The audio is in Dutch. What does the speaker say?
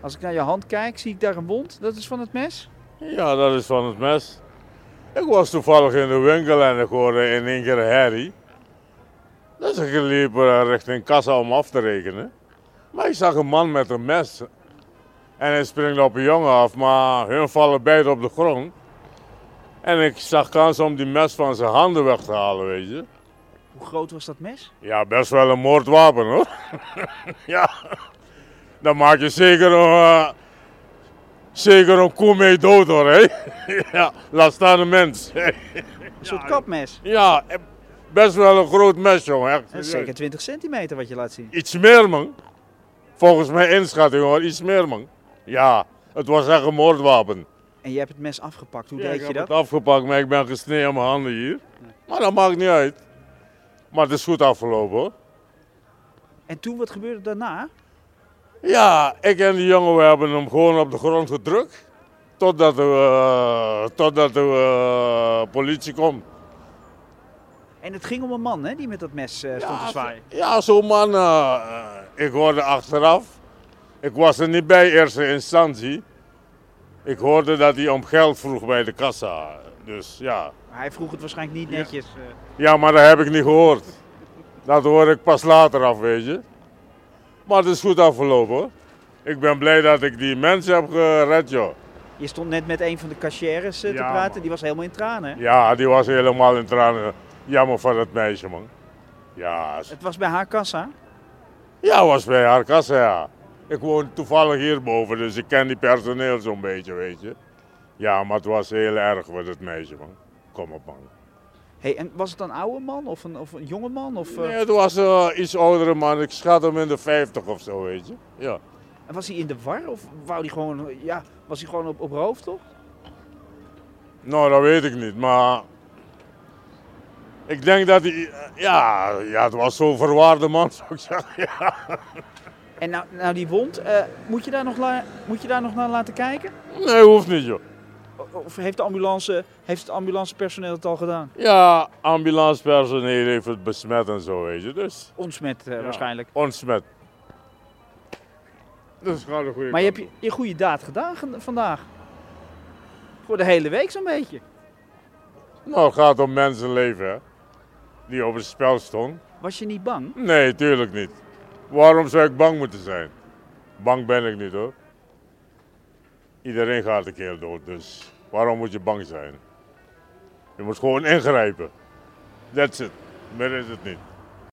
Als ik naar je hand kijk, zie ik daar een wond. Dat is van het mes? Ja, dat is van het mes. Ik was toevallig in de winkel en ik hoorde in één keer herrie. Dus ik liep eh, richting kassa om af te rekenen. Maar ik zag een man met een mes. En hij springt op een jongen af, maar hun vallen beide op de grond. En ik zag kans om die mes van zijn handen weg te halen, weet je. Hoe groot was dat mes? Ja, best wel een moordwapen hoor. ja, dan maak je zeker een, eh, zeker een koe mee dood hoor. Hè? ja, laat staan een mens. Een soort kapmes. ja, eh, best wel een groot mes jongen. Echt. Dat is serieus. zeker 20 centimeter wat je laat zien. Iets meer man. Volgens mijn inschatting hoor, iets meer man. Ja, het was echt een moordwapen. En je hebt het mes afgepakt. Hoe Ja, deed je ik heb dat? het afgepakt, maar ik ben gesneden aan mijn handen hier. Maar dat maakt niet uit. Maar het is goed afgelopen hoor. En toen, wat gebeurde daarna? Ja, ik en die jongen we hebben hem gewoon op de grond gedrukt. Totdat de, eh, totdat de eh, politie komt. En het ging om een man hè, die met dat mes eh, stond te zwaaien. zo- ja, zo'n man. eh, ik hoorde achteraf. Ik was er niet bij eerste instantie. Ik hoorde dat hij om geld vroeg bij de kassa. Dus ja. Maar hij vroeg het waarschijnlijk niet netjes. eh. Ja, maar dat heb ik niet gehoord. Dat hoor ik pas later af, weet je. Maar het is goed afgelopen hoor. Ik ben blij dat ik die mensen heb gered, joh. Je stond net met een van de cashiers eh, te Ja, praten. man. Die was helemaal in tranen. hè? Ja, die was helemaal in tranen. Jammer van dat meisje, man. Ja, ze- Het was bij haar kassa. ja was bij haar kassa, ja. Ik woon toevallig hierboven, dus ik ken die personeel zo'n beetje, weet je. Ja, maar het was heel erg met dat meisje, man. Kom op, man. Hey, en was het een oude man of een, of een jonge man? Of, eh, Nee, het was een iets oudere man. Ik schat hem in de 50 of zo, weet je. Ja. en was hij in de war? Of wou die gewoon, ja, was hij gewoon op, op hoofd, toch? Nou, dat weet ik niet, maar... Ik denk dat hij... Ja, ja het was zo'n verwaarde man, zou ik zeggen. Ja. En nou, nou die wond, eh, moet, je daar nog la- moet je daar nog naar laten kijken? Nee, hoeft niet, joh. O- Of heeft, de ambulance, heeft het ambulancepersoneel het al gedaan? Ja, ambulancepersoneel heeft het besmet en zo, weet je. Dus Ontsmet eh, Ja. waarschijnlijk. ontsmet. Dus gaat een goede Maar je kant hebt je, je goede daad gedaan gen- vandaag. Voor de hele week zo'n beetje. op. Nou, het gaat om mensenleven, hè. Die op het spel stond. Was je niet bang? Nee, tuurlijk niet. Waarom zou ik bang moeten zijn? Bang ben ik niet, hoor. Iedereen gaat een keer dood, dus waarom moet je bang zijn? Je moet gewoon ingrijpen. That's it. Meer is het niet.